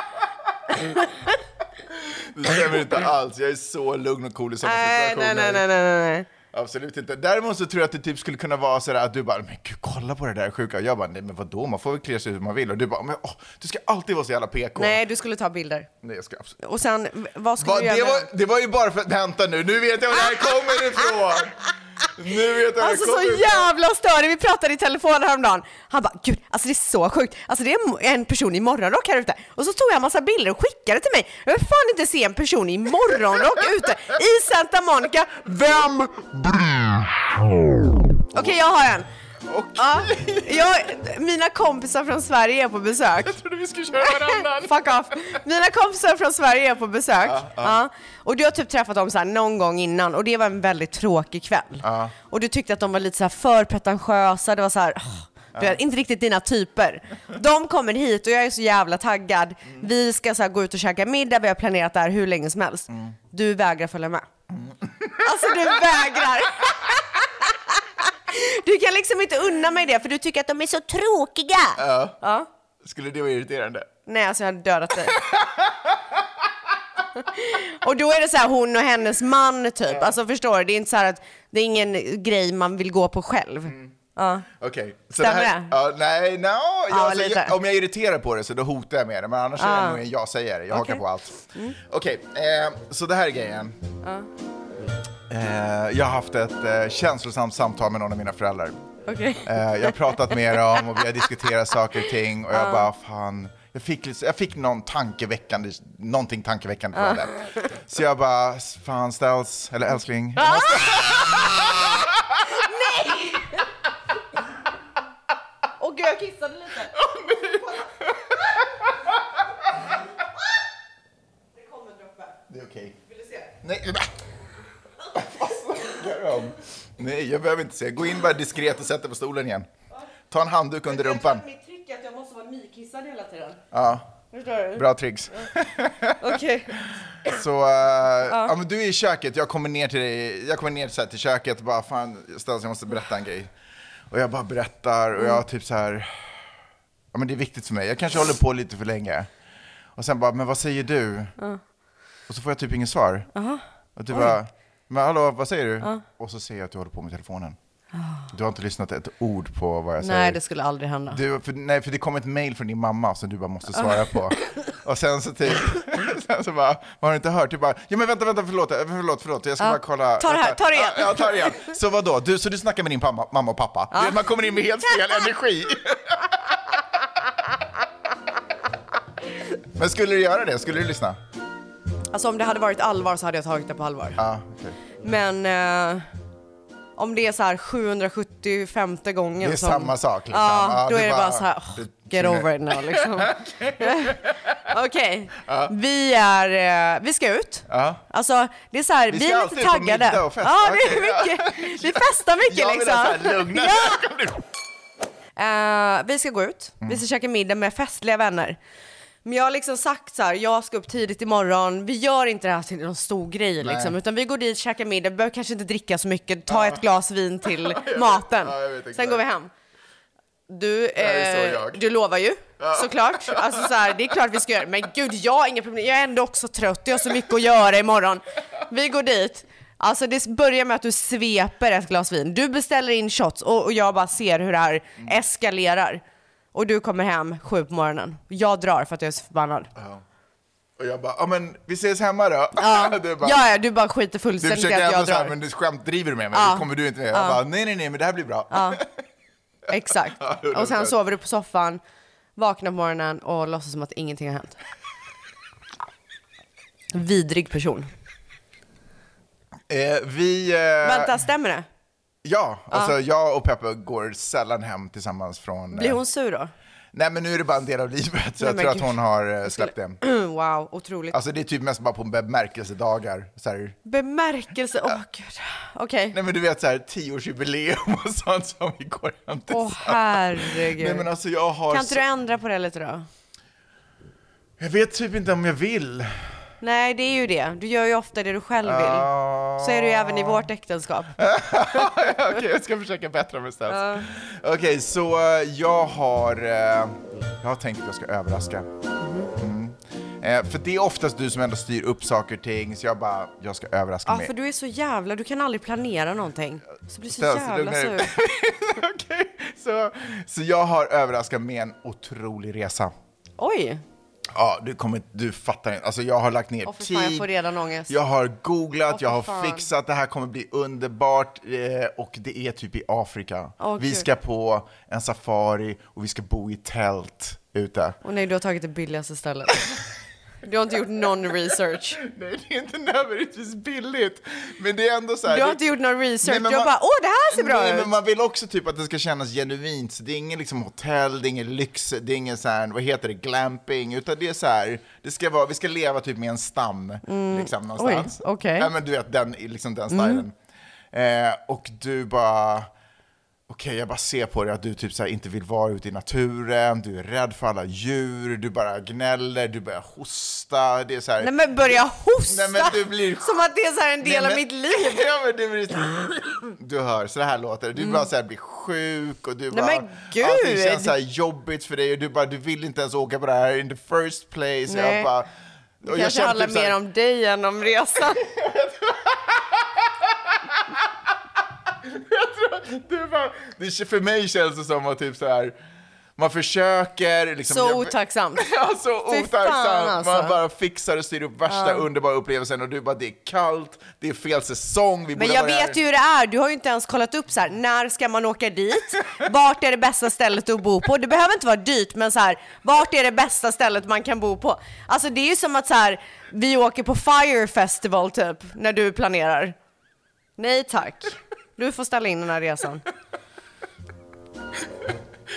Det stämmer inte alls. Jag är så lugn och cool i sådana
Nej, nej,
situationer.
nej, nej, nej, nej.
Absolut inte. Däremot så tror jag att det typ skulle kunna vara sådär att du bara, men gud kolla på det där sjuka. Och jag bara, nej men vadå, man får väl klä sig hur man vill. Och du bara, men åh, du ska alltid vara så jävla PK.
Nej, du skulle ta bilder.
nej jag ska absolut.
Och sen, v- vad skulle
Va,
du
det,
göra? med
var, det var ju bara för att, vänta nu, nu vet jag var det här kommer ifrån. Nu vet jag var
Alltså
det kommer
så jävla störigt. Vi pratade i telefon häromdagen. Han bara, gud, alltså det är så sjukt. Alltså det är en person i morgonrock här ute. Och så tog jag en massa bilder och skickade till mig. Jag vill fan inte se en person i morgonrock ute i Santa Monica. Vem bryr Okej, jag har en.
Okej.
Ja, jag, mina kompisar från Sverige är på besök.
Jag trodde vi skulle köra varannan.
Fuck off. Mina kompisar från Sverige är på besök. Ja. Och du har typ träffat dem så här någon gång innan och det var en väldigt tråkig kväll. Och du tyckte att de var lite så här för pretentiösa. Det var så här, "Åh, du vet, inte riktigt dina typer. De kommer hit och jag är så jävla taggad. Vi ska så här gå ut och käka middag, vi har planerat det här hur länge som helst. Du vägrar följa med. Alltså du vägrar. Du kan liksom inte unna mig det för du tycker att de är så tråkiga.
Skulle det vara irriterande?
Nej, alltså jag hade dödat dig. och då är det så här hon och hennes man typ. Alltså förstår du? Det är inte så här att det är ingen grej man vill gå på själv.
Mm.
Ja.
Okej. Okay.
Stämmer
det?
det?
Ja, nej, no. jag,
Ja,
alltså,
lite. Ah.
jag, om jag irriterar på det så då hotar jag med det, men annars är det nog en ja-sägare.
Okej.
Jag
Mm.
hakar på allt. Okej, eh, så det här är grejen. Eh, jag har haft ett eh, känslosamt samtal med någon av mina föräldrar.
Okej.
Eh, jag har pratat med dem och vi har diskuterat saker och ting och jag
Ah.
bara, fan. Jag fick, lite- jag fick någon tankeväckande, någonting tankeväckande
Ah.
från det. Så jag bara, fan Stels, eller älskling,
Ah.
jag måste,
Och gud, jag kissade lite. Det kom en droppe.
det är okej.
Vill du se?
Nej, men- Vad snackar du om? Nej, jag behöver inte se. Gå in bara diskret och sätt dig på stolen igen. Ta en handduk under rumpan.
mitt tryck är att jag måste vara nykissad hela tiden.
Ja,
Förstår du?
bra tricks.
Okej.
Så, eh, ja men du är i köket, jag kommer ner till dig, jag kommer ner så här till köket och bara fan, Stas, jag måste berätta en grej. Och jag bara berättar och
Mm.
jag typ så här, ja men det är viktigt för mig, jag kanske håller på lite för länge. Och sen bara, men vad säger du? Och så får jag typ inget svar. Och du bara, men hallå, vad säger du? Och så ser jag att du håller på med telefonen. Du har inte lyssnat ett ord på vad jag säger.
Ah. Nej, det skulle aldrig hända.
Du, för, nej, för det kom ett mail från din mamma som du bara måste svara på. Och sen så typ, sen så bara, har du inte hört? Du bara, ja men vänta, vänta, förlåt, eh, förlåt, förlåt, jag ska bara kolla.
Ta det här,
vänta.
ta det igen.
Ja, ja, ta det igen. Så vadå, du, så du snackar med din mamma, mamma och pappa? Du vet, Man kommer in med helt fel energi. men skulle du göra det? Skulle du lyssna?
Alltså om det hade varit allvar så hade jag tagit det på allvar.
Ja, okej.
Men eh, om det är så här 775 gången
Det är
som,
samma sak, liksom.
Ja,
Ja,
då
det
är det bara,
bara-
så här, oh,
det-
get over it now liksom. Okej, vi är, eh, vi ska ut.
Ja.
Alltså det är så här, vi,
Vi ska
är
alltid
lite
ut på
taggade.
middag och fest.
Ja, det är
Okej, ja.
mycket, vi festar mycket
Jag vill
liksom.
ha så här lugna
Eh, vi ska gå ut,
Mm.
vi ska käka middag med festliga vänner. Men jag har liksom sagt så här, jag ska upp tidigt imorgon, vi gör inte det här till någon stor grej liksom, utan vi går dit, käkar middag, vi behöver kanske inte dricka så mycket, ta ett glas vin till maten.
Ja, jag vet exakt.
Sen går vi hem. Du,
är så
eh,
jag.
du lovar ju såklart. Alltså så här, det är klart vi ska göra det. Men gud, jag har inga problem. Jag är ändå också trött. Jag har så mycket att göra imorgon. Vi går dit. Alltså det börjar med att du sveper ett glas vin. Du beställer in shots och, och jag bara ser hur det här eskalerar. Och du kommer hem sju på morgonen. Jag drar för att jag är så förbannad.
Och jag bara, ja men vi ses hemma då. Du bara,
Ja, ja, du bara skiter
Du
fullständigt i
försöker
att
ändå
jag
så här,
drar.
men du skämt driver du med mig, det kommer du inte med. Jag bara, nej nej nej, men det här blir bra.
Exakt.
Ja, hundra
Och sen
procent.
sover du på soffan, vaknar på morgonen och låtsas som att ingenting har hänt. Vidrig person.
Eh, vi... Eh,
Vänta, stämmer det?
Ja, alltså jag och Peppe går sällan hem tillsammans från...
Blir
eh,
hon sur då?
Nej, men nu är det bara en del av livet, så jag
men
tror
gud.
att hon har eh, släppt det.
wow, otroligt.
Alltså det är typ mest bara på bemärkelsedagar. Så här.
Bemärkelse, åh gud. Okej.
Nej men du vet så här, tioårsjubileum och sånt som vi går hem till.
Åh herregud.
alltså- Nej men alltså jag har...
kan inte du ändra på det lite då?
Jag vet typ inte om jag vill.
Nej, det är ju det. Du gör ju ofta det du själv vill. Så är det ju även i vårt äktenskap.
Okej, jag ska försöka bättra mig strax. Okej, så eh, jag har... eh, Jag har tänkt att jag ska överraska. Mm. Eh, För det är oftast du som ändå styr upp saker och ting, så jag bara, jag ska överraska
Ja,
mig.
för du är så jävla... Du kan aldrig planera någonting. Så blir du så
Ställ sig
jävla
alltså, lugna
sur.
nu. Okej, så, så jag har överraskat med en otrolig resa.
Oj!
Ja, du kommer du fattar inte. Alltså jag har lagt ner
Åh, för
tid.
fan, jag får redan ångest.
Jag har googlat,
Åh, för
jag har
fan.
fixat, det här kommer bli underbart. Eh, och det är typ i Afrika.
Åh,
vi
Gud.
ska på en safari och vi ska bo i tält ute.
Och nej, du har tagit det billigaste stället. Du har inte gjort någon research.
Nej, det är inte nödvändigtvis billigt, men det är ändå så här.
Du har
det-
inte gjort någon research.
Nej, men
du har
man-
bara, åh, det här ser bra
Nej,
ut.
men man vill också typ att det ska kännas genuint. Så det är ingen liksom hotell, det är ingen lyx, det är ingen så här, vad heter det, glamping, utan det är så här, det ska vara, vi ska leva typ med en stam, liksom någonstans.
Mm. Oj, okej. Mm.
Ja, men du vet, den, liksom den stilen. Eh, och du bara, okej, jag bara ser på dig att du typ så här inte vill vara ute i naturen, du är rädd för alla djur, du bara gnäller, du börjar hosta, det är så här.
Nej men börja hosta!
Nej, men du blir-
Som att det är så här en del
Nej,
av
men-
mitt liv.
ja, men du, blir... du hör, så här låter det. Du bara så här blir sjuk och du
Mm. Nej,
bara...
men gud!
Allting känns så här jobbigt för dig och du bara, du vill inte ens åka på det här in the first place.
Nej.
Jag bara... Och
Kanske
känner
handlar
typ så här-
mer om dig än om resan.
Du bara, det, för mig känns det som att typ så här... Man försöker... Liksom,
Så
jag-
otacksamt.
Ja, så
Fy fan,
otacksamt.
alltså.
Man bara fixar och styr upp värsta underbara upplevelsen och du bara, det är kallt, det är fel säsong, vi
Men
borde
jag
ha varit
vet
här-
ju hur det är. Du har ju inte ens kollat upp så här, när ska man åka dit? Vart är det bästa stället att bo på? Det behöver inte vara dyrt, men så här, vart är det bästa stället man kan bo på? Alltså det är ju som att så här, vi åker på Fire Festival typ, när du planerar. Nej tack. Du får ställa in den här resan.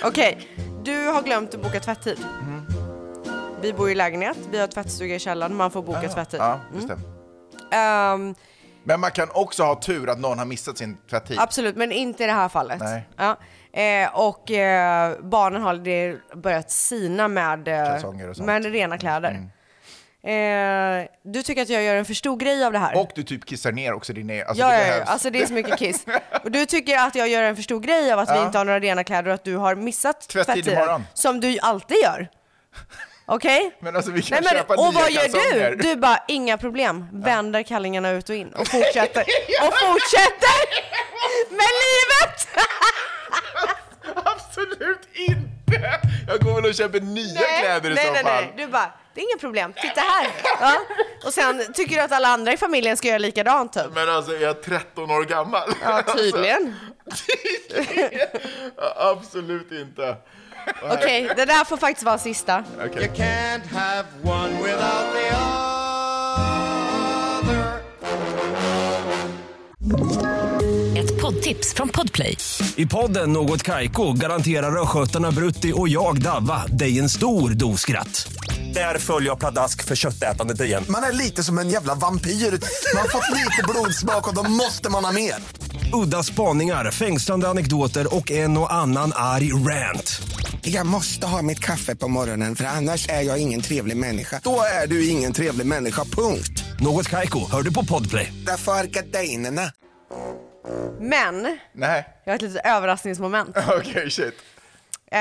Okej, du har glömt att boka tvättid.
Mm.
Vi bor i lägenhet, vi har tvättstuga i källaren, man får boka tvättid.
Ja, just
Mm.
det.
Ehm,
Men man kan också ha tur att någon har missat sin tvättid.
Absolut, men inte i det här fallet.
Nej.
Ja. Eh, och eh, barnen har det börjat sina med, eh,
Kalsonger och sånt. Mm.
med rena kläder. Eh, du tycker att jag gör en för stor grej av det här?
Och du typ kissar ner också din egen... Alltså,
ja,
det
ja, ja,
behövs.
alltså det är så mycket kiss. Och du tycker att jag gör en för stor grej av att vi inte har några rena kläder och att du har missat
Tvättid
tvättiden,
imorgon.
Som du alltid gör. Okej?
Men alltså vi kan
Nej, men,
köpa
och
nya
vad gör
kalsonger.
du? Du bara, inga problem. Vänder kallingarna ut och in och fortsätter. Och fortsätter med livet!
Absolut inte! Jag går väl och köper nya kläder i
nej,
så
nej,
fall.
nej. Du bara, det är inga problem. Titta här. Ja. Och sen tycker du att alla andra i familjen ska göra likadant typ.
Men alltså, jag är 13 år gammal.
Ja, tydligen.
Tydligen. Ja, Absolut inte.
Okej, det där får faktiskt vara sista.
Okej.
can't have one without the other.
Ett poddtips från Podplay.
I podden Något Kaiko garanterar östgötarna Brutti och jag, Davva, dig en stor dos skratt. Där följer jag pladask för köttätandet igen.
Man är lite som en jävla vampyr. Man har fått lite blodsmak och då måste man ha mer.
Udda spaningar, fängslande anekdoter och en och annan arg rant.
Jag måste ha mitt kaffe på morgonen för annars är jag ingen trevlig människa. Då är du ingen trevlig människa, punkt.
Något Kaiko, hör du på podplay.
Därför är gardinerna.
Men,
Nej,
jag har ett litet överraskningsmoment.
okej, shit.
Eh,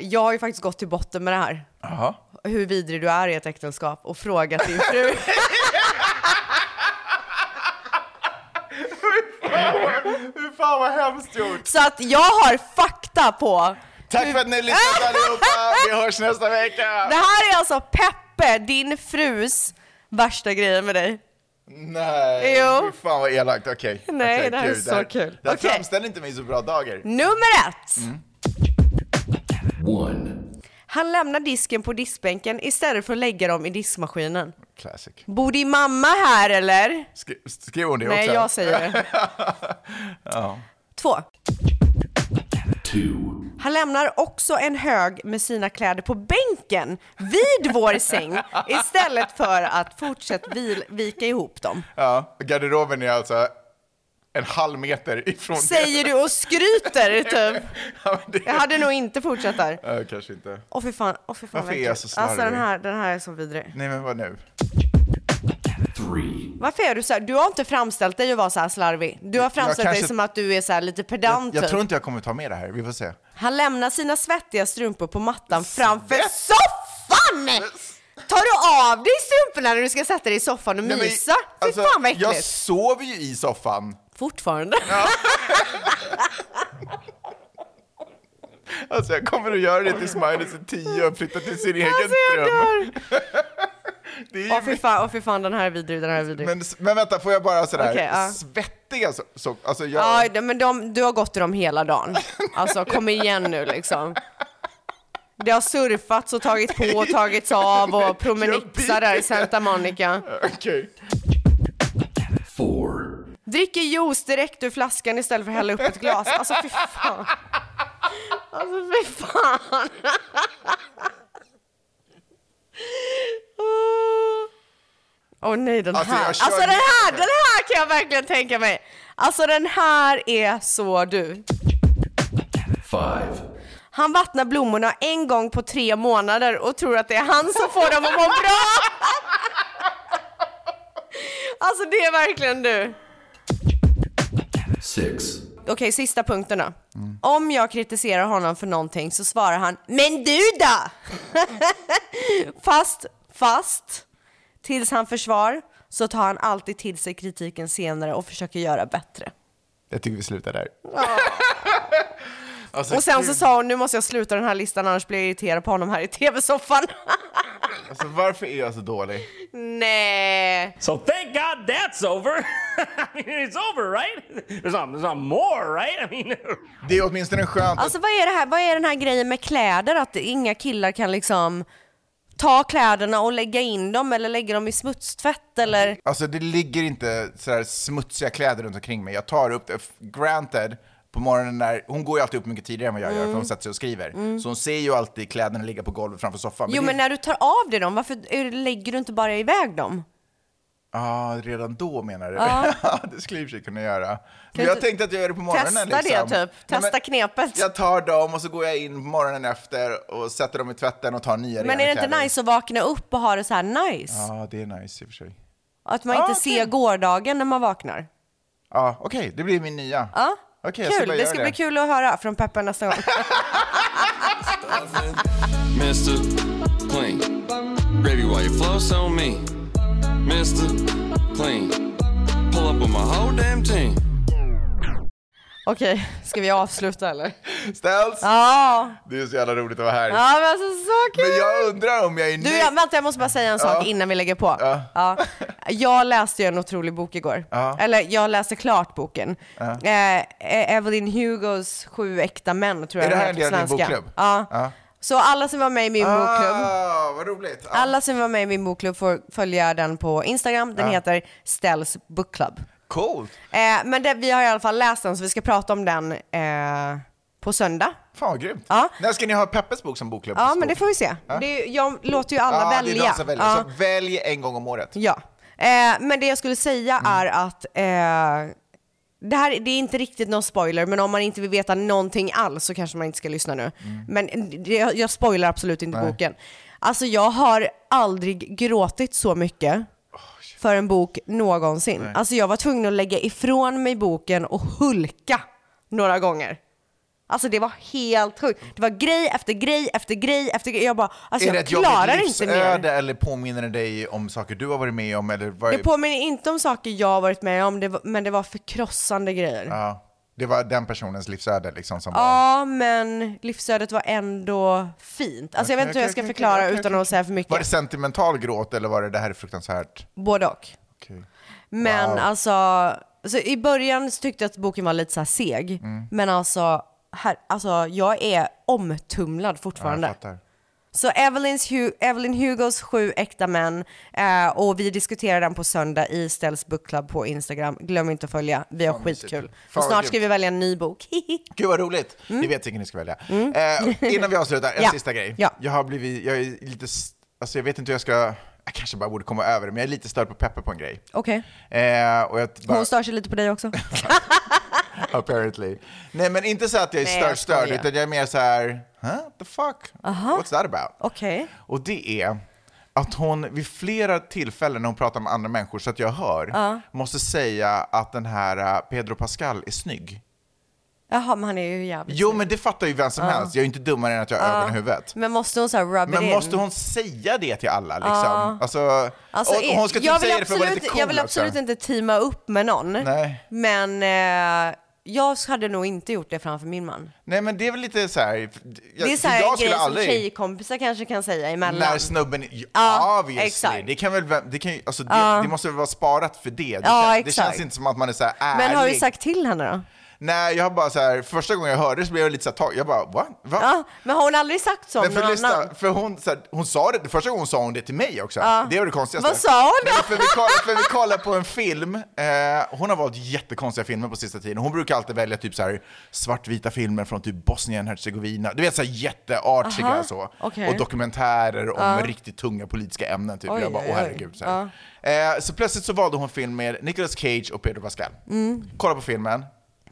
jag har ju faktiskt gått till botten med det här.
Jaha.
Hur vidrig du är i ett äktenskap och frågat din fru.
Fy fan vad hemskt gjort.
Så att jag har fakta på.
Tack för att ni lyssnade allihopa. Vi hörs nästa vecka.
Det här är alltså Peppe, din frus värsta grejer med dig.
Nej,
Jo.
fy fan vad elakt. Okej.
Nej,
Okej,
det här är så
här-
kul.
Det här
Okej.
framställer inte mig i så bra dagar.
Nummer ett! Han lämnar disken på diskbänken istället för att lägga dem i diskmaskinen.
Classic.
Bor din mamma här eller?
Skri- Skrev hon det
Nej,
också?
jag säger det. Två. Han lämnar också en hög med sina kläder på bänken vid vår säng istället för att fortsätta vil- vika ihop dem.
Ja, garderoben är alltså en halv meter ifrån
Säger du och skryter typ.
det.
Jag hade nog inte fortsatt där.
Ja, kanske inte.
Åh fy fan, åh fy fan.
Varför är
verkligen.
jag så
Alltså den
slarvig?
här, den här är så vidrig.
Nej, men vad nu?
Varför är du så här? Du har inte framställt dig att vara så här slarvig. Du har framställt dig
kanske-
som att du är så här lite pedant.
Jag
typ.
tror inte jag kommer ta med det här, vi får se.
Han lämnar sina svettiga strumpor på mattan framför soffan! Tar du av dig strumporna när du ska sätta dig i soffan och
Nej, men-
mysa? Fy
alltså,
fan vad
Jag
äckligt!
sover ju i soffan.
Fortfarande.
Alltså jag kommer att göra det tills Magnus är tio och flyttar till sin egen
Alltså jag
dröm.
dör! Åh fy fan, åh fy fan, den här är vidrig, den här är vidrig.
Men, men vänta, får jag bara sådär,
Okej, ja.
svettiga so- so- alltså jag,
Ja, de- men de, du har gått i dem hela dagen. Alltså kom igen nu liksom. Det har surfats och tagit på och tagits av och promenixar där i Santa Monica.
Okej.
Dricker juice direkt ur flaskan istället för att hälla upp ett glas. Alltså fy fan. Alltså fy fan. Åh oh, nej, den
Alltså,
här.
jag kör
Alltså den här,
vidare.
den här kan jag verkligen tänka mig. Alltså den här är så du. Han vattnar blommorna en gång på tre månader och tror att det är han som får dem att må bra. Alltså det är verkligen du. Okej, sista punkten då. Om jag kritiserar honom för någonting så svarar han “Men du då?” Fast, fast, tills han försvar så tar han alltid till sig kritiken senare och försöker göra bättre.
Jag tycker vi slutar där. alltså,
Och sen så
gud,
sa hon “Nu måste jag sluta den här listan annars blir jag irriterad på honom här i tv-soffan”.
alltså, varför är jag så dålig?
Nej.
So thank God that's over. I mean, it's over, right? There's not, there's not more, right? I mean,
Det är åtminstone skönt
Alltså vad är, det här, vad är den här grejen med kläder? Att inga killar kan liksom ta kläderna och lägga in dem eller lägga dem i smutstvätt eller...
Alltså det ligger inte sådär smutsiga kläder runt omkring mig. Jag tar upp det, F- granted, på morgonen när, hon går ju alltid upp mycket tidigare än vad jag gör
Mm.
för hon sätter sig och skriver. Så hon ser ju alltid kläderna ligga på golvet framför soffan.
Jo
det-
men när du tar av dig dem, varför är- lägger du inte bara iväg dem?
Ja, redan då menar du?
Ja.
Ja, det skulle jag i och för sig kunna göra.
Kan
Men jag
inte-
tänkte att jag gör det på morgonen.
Testa
liksom.
det typ,
Nej, men
testa knepet.
Jag tar dem och så går jag in morgonen efter och sätter dem i tvätten och tar nya
Men är det inte nice att vakna upp och ha det så här nice?
Ja, det är nice i och för sig.
Att man
Ja,
inte
okej.
ser gårdagen när man vaknar?
Ja, okej, det blir min nya.
Ja,
Okej, jag ska
kul.
börja
Det
göra
ska
det.
bli kul att höra från Peppe nästa gång.
Mr. Clean. Baby, why you flow so mean? Mr. Clean. Pull up on my whole damn team.
Okej, ska vi avsluta eller?
Ställs,
Ja,
det är så jävla roligt att vara här.
ja men alltså så kul!
Men jag undrar om jag är
Du,
nöjd.
jag, vänta, jag måste bara säga en sak
Ja.
innan vi lägger på. Ja. Jag läste ju en otrolig bok igår.
Ja.
Eller jag läste klart boken.
Ja.
Eh, Evelyn Hugos Sju äkta män tror jag
Är det
den
här
heter
en del av
på
din
svenska.
bokklubb?
Ja. Så alla som var med i min bokklubb,
Ah, vad roligt. Ja.
alla som var med i min bokklubb får följa den på Instagram. Den
Ja.
heter Stells Book Club.
Coolt.
Eh, men det, vi har i alla fall läst den så vi ska prata om den eh, på söndag.
Fan vad grymt.
Ja.
När ska ni ha Peppes bok som bokklubb?
Ja men det får vi se. Det är, ju- jag låter ju alla
ah,
välja.
Det är de som väljer.
Ja.
Så välj en gång om året.
Ja, eh, men det jag skulle säga
Mm.
är att eh, det här det är inte riktigt någon spoiler, men om man inte vill veta någonting alls så kanske man inte ska lyssna nu.
Mm.
Men eh, det, jag jag spoilar absolut inte
Nej.
boken. Alltså jag har aldrig gråtit så mycket för en bok någonsin.
Nej.
Alltså jag var tvungen att lägga ifrån mig boken och hulka några gånger. Alltså det var helt sjukt. Det var grej efter grej efter grej efter grej. Jag bara, alltså
är det
jag
ett jobbigt eh,
klarar inte mer.
livsöde eller påminner det dig om saker du har varit med om? Eller vad...
Det påminner inte om saker jag har varit med om, det var, men det var förkrossande grejer. Ja,
ja, det var den personens livsöde liksom som var...
men livsödet var ändå fint. Alltså jag vet
Okej,
inte hur jag
okej,
ska
okej,
förklara
okej, okej,
utan att säga för mycket.
Var det sentimental gråt eller var det det här är fruktansvärt?
Både och.
Okej.
Men
Wow.
alltså, så i början så tyckte jag att boken var lite så här seg.
Mm.
Men alltså, här, alltså, jag är omtumlad
Ja, jag
fortfarande.
fattar.
Så Evelyns Hu- Evelyn Hugos sju äkta män eh, och vi diskuterar den på söndag i Stells Book Club på Instagram. Glöm inte att följa, vi har
Fan, mysigt.
skitkul.
Fan,
Och
vad
snart
grymt.
ska vi välja en ny bok.
Gud vad roligt! Ni vet vilken ni ska välja. Eh, innan vi avslutar, en
Mm. Ja.
sista grej.
Ja.
Jag har blivit, jag är lite, s- alltså jag vet inte hur jag ska, jag kanske bara borde komma över det, men jag är lite störd på Peppe på en grej.
Okej,
Eh, och jag t- bara,
hon stör sig lite på dig också.
apparently. Nej men inte så att jag är
Nej,
störd,
jag
störd,
skojar.
utan jag är mer så här, huh? the fuck?
Aha.
What's that about?
Okej.
Och det är att hon vid flera tillfällen när hon pratar med andra människor så att jag hör,
Ja.
måste säga att den här eh, Pedro Pascal är snygg.
Jaha, men han är ju jävligt
Jo men det fattar ju vem som
Ja.
helst, jag är ju inte dummare än att jag har
Ja.
ögon i huvudet.
Men måste hon så här rub it
Men
in?
måste hon säga det till alla liksom?
Ja.
Alltså,
Alltså,
och, och hon ska typ
jag vill
säga det för att vara
absolut-
lite cool
Jag vill absolut
också.
inte teama upp med någon.
Nej.
Men eh, jag hade nog inte gjort det framför min man.
Nej men det är väl lite så här, jag,
det är så här
jag
en grej
skulle
som
aldrig...
tjejkompisar kanske kan säga emellan.
När snubben, ja,
Ja,
obviously.
exakt.
Det kan väl, vem- det kan ju, alltså det,
Ja.
det måste väl vara sparat för det. Det,
Ja,
kän- det
exakt.
känns inte som att man är så här ärlig.
Men har du sagt till henne då?
Nej, jag har bara så här, första gången jag hörde det så blev jag lite så här tag- jag bara va? va?
Ja, men har hon aldrig sagt så om
Men
någon
för, lyssna,
annan?
för hon, så här, hon sa det, första gången sa hon det till mig också.
Ja.
Det var det konstigaste.
Vad sa hon då?
Nej, för, vi kollade, för vi kollade på en film, eh, hon har valt jättekonstiga filmer på sista tiden. Hon brukar alltid välja typ så här svartvita filmer från typ bosnien herzegovina Du vet så här
Aha,
jätteartiga så.
okej.
Och dokumentärer om
Ja.
riktigt tunga politiska ämnen. Typ.
Oj,
jag bara,
oj,
åh
oj.
herregud. Så, här. Eh, så plötsligt så valde hon film med Nicolas Cage och Pedro Pascal.
Mm.
Kolla på filmen.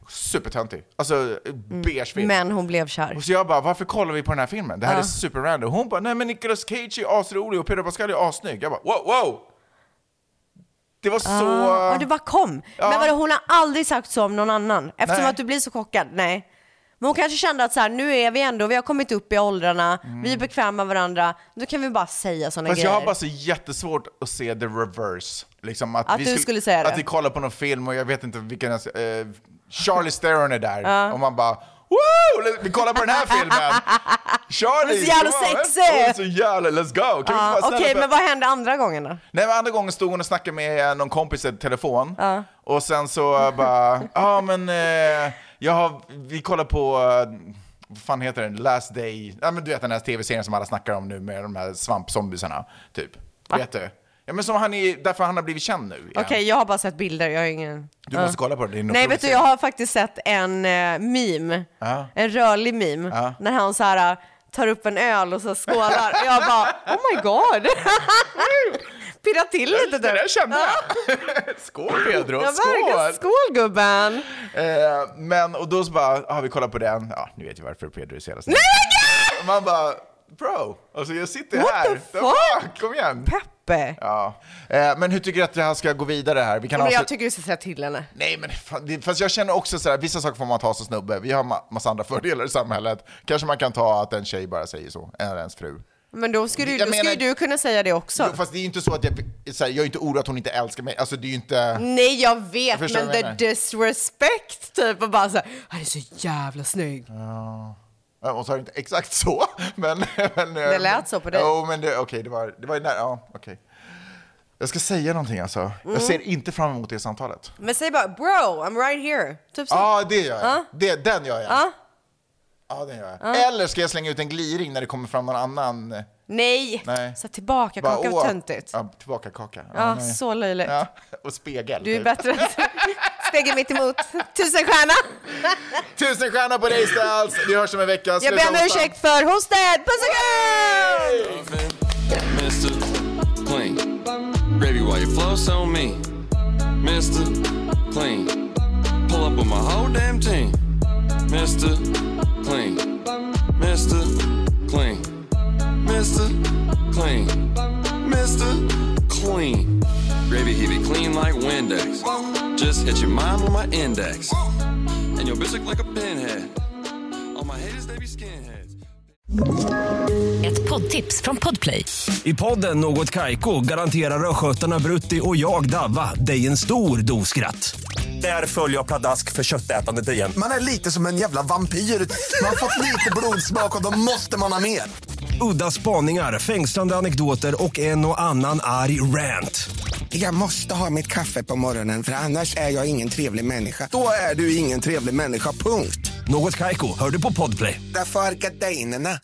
Supertöntig. Alltså, beige film.
Men hon blev kär.
Och så jag bara, varför kollar vi på den här filmen? Det här
Ja.
är superrandom. Hon bara, nej men Nicolas Cage är asrolig och Pedro Pascal är assnygg. Jag bara, wow, wow! Det var så...
Ah, ja, det bara kom.
Ja.
Men vadå, hon har aldrig sagt så om någon annan? Eftersom
Nej.
att du blir så chockad? Nej. Men hon kanske kände att så här, nu är vi ändå, vi har kommit upp i åldrarna, vi är bekväma med varandra, då kan vi bara säga sådana
Mm. Fast
grejer.
jag har bara så jättesvårt att se the reverse. Liksom att
Att
vi
du skulle säga
Att
det.
vi kollar på någon film och jag vet inte vilken... ens- Eh, Charlie Theron är där
Ja.
och man bara Woo! Vi kollar på den här filmen! Charlie!
Hon är så jävla
come on, let's-
sexig!
Hon är så jävla... Let's go! Kan vi
Ja,
inte bara
Okej,
snälla börja-
men vad hände andra gången då?
Nej men andra gången stod hon och snackade med någon kompis i telefon och sen så bara, ja men eh, jag har, vi kollar på, eh, vad fan heter den, Last Day, ja men du vet den här tv-serien som alla snackar om nu med de här svampzombisarna, typ. Vet du? Ja men som han är, därför han har blivit känd nu. igen.
Okej, jag har bara sett bilder, jag har ingen...
Du
Ja.
måste kolla på det, det är en
Nej
otrolig
vet du,
serie.
jag har faktiskt sett en eh, meme,
Ja.
en rörlig meme, när han så här eh, tar upp en öl och så skålar. jag bara, oh my god! Pirrar till lite där.
Jag kände Skål Pedro,
Ja, verkligen.
skål!
Skål gubben!
Eh, men, och då så bara, har vi kollat på den, ja ni vet ju varför Pedro är så jävla snäll. Man bara, bro, alltså jag sitter
What
här.
the
fuck? Kom igen.
Peppe!
Ja. Eh, men hur tycker du att det här ska gå vidare här? Vi kan
Men jag
avslut-
tycker du ska säga till henne.
Nej, men fan, det, fast jag känner också så här, vissa saker får man ta som snubbe. Vi har ma- massa andra fördelar i samhället. Kanske man kan ta att en tjej bara säger så, eller ens fru.
Men då skulle, ju-
Jag
då skulle
menar-
ju du kunna säga det också.
Jo, Fast det är ju inte så att jag, så här, jag är inte orolig att hon inte älskar mig. Alltså det är ju inte...
Nej, jag
Jag
vet,
förstår
men
vad jag
the
menar.
disrespect typ och bara så här, han är så jävla snygg.
Ja. Ja, Hon sa inte exakt så, men... men
Det lät så på dig.
Jo, men det, okej, det var... Det var ju nära, ja, okej. Jag ska säga någonting alltså.
Mm.
Jag ser inte fram emot det samtalet.
Men säg bara bro, I'm right here. Typ så.
Ja, det gör jag.
Ja.
Det, den gör jag.
Ja.
Ja, den gör jag.
Ja.
Eller ska jag slänga ut en gliring när det kommer fram någon annan? eh,
Nej,
Nej.
så tillbaka
Bara,
kaka
åh.
var töntigt.
Ja, tillbaka kaka.
Ja,
nej.
så löjligt.
Ja, och spegel.
Du är
typ.
bättre än Spegel mitt emot. Tusen stjärna.
Tusen stjärnor på dig Stals! Vi hörs om en vecka.
Jag
Sluta
ber om
hostan.
ursäkt för hostet. Puss och kram!
Mr. Clean. Baby, why you flow so mean? Mr. Clean. Pull up with my whole damn team. Mr. Clean. Mr. Clean. Mr. Clean. Mr. Clean. Baby, he be clean like Windex. Just hit your mind with my index. And your bitch look like a pinhead. All my haters, they be skinheads.
Ett poddtips från Podplay.
I podden Något Kaiko garanterar östgötarna Brutti och jag, Davva, dig en stor dos skratt. Där följer jag pladask för köttätandet igen.
Man är lite som en jävla vampyr. Man har fått lite blodsmak och då måste man ha mer.
Udda spaningar, fängslande anekdoter och en och annan arg rant.
Jag måste ha mitt kaffe på morgonen för annars är jag ingen trevlig människa. Då är du ingen trevlig människa, punkt.
Något Kaiko, hör du på Podplay.
Därför arkadeinerna.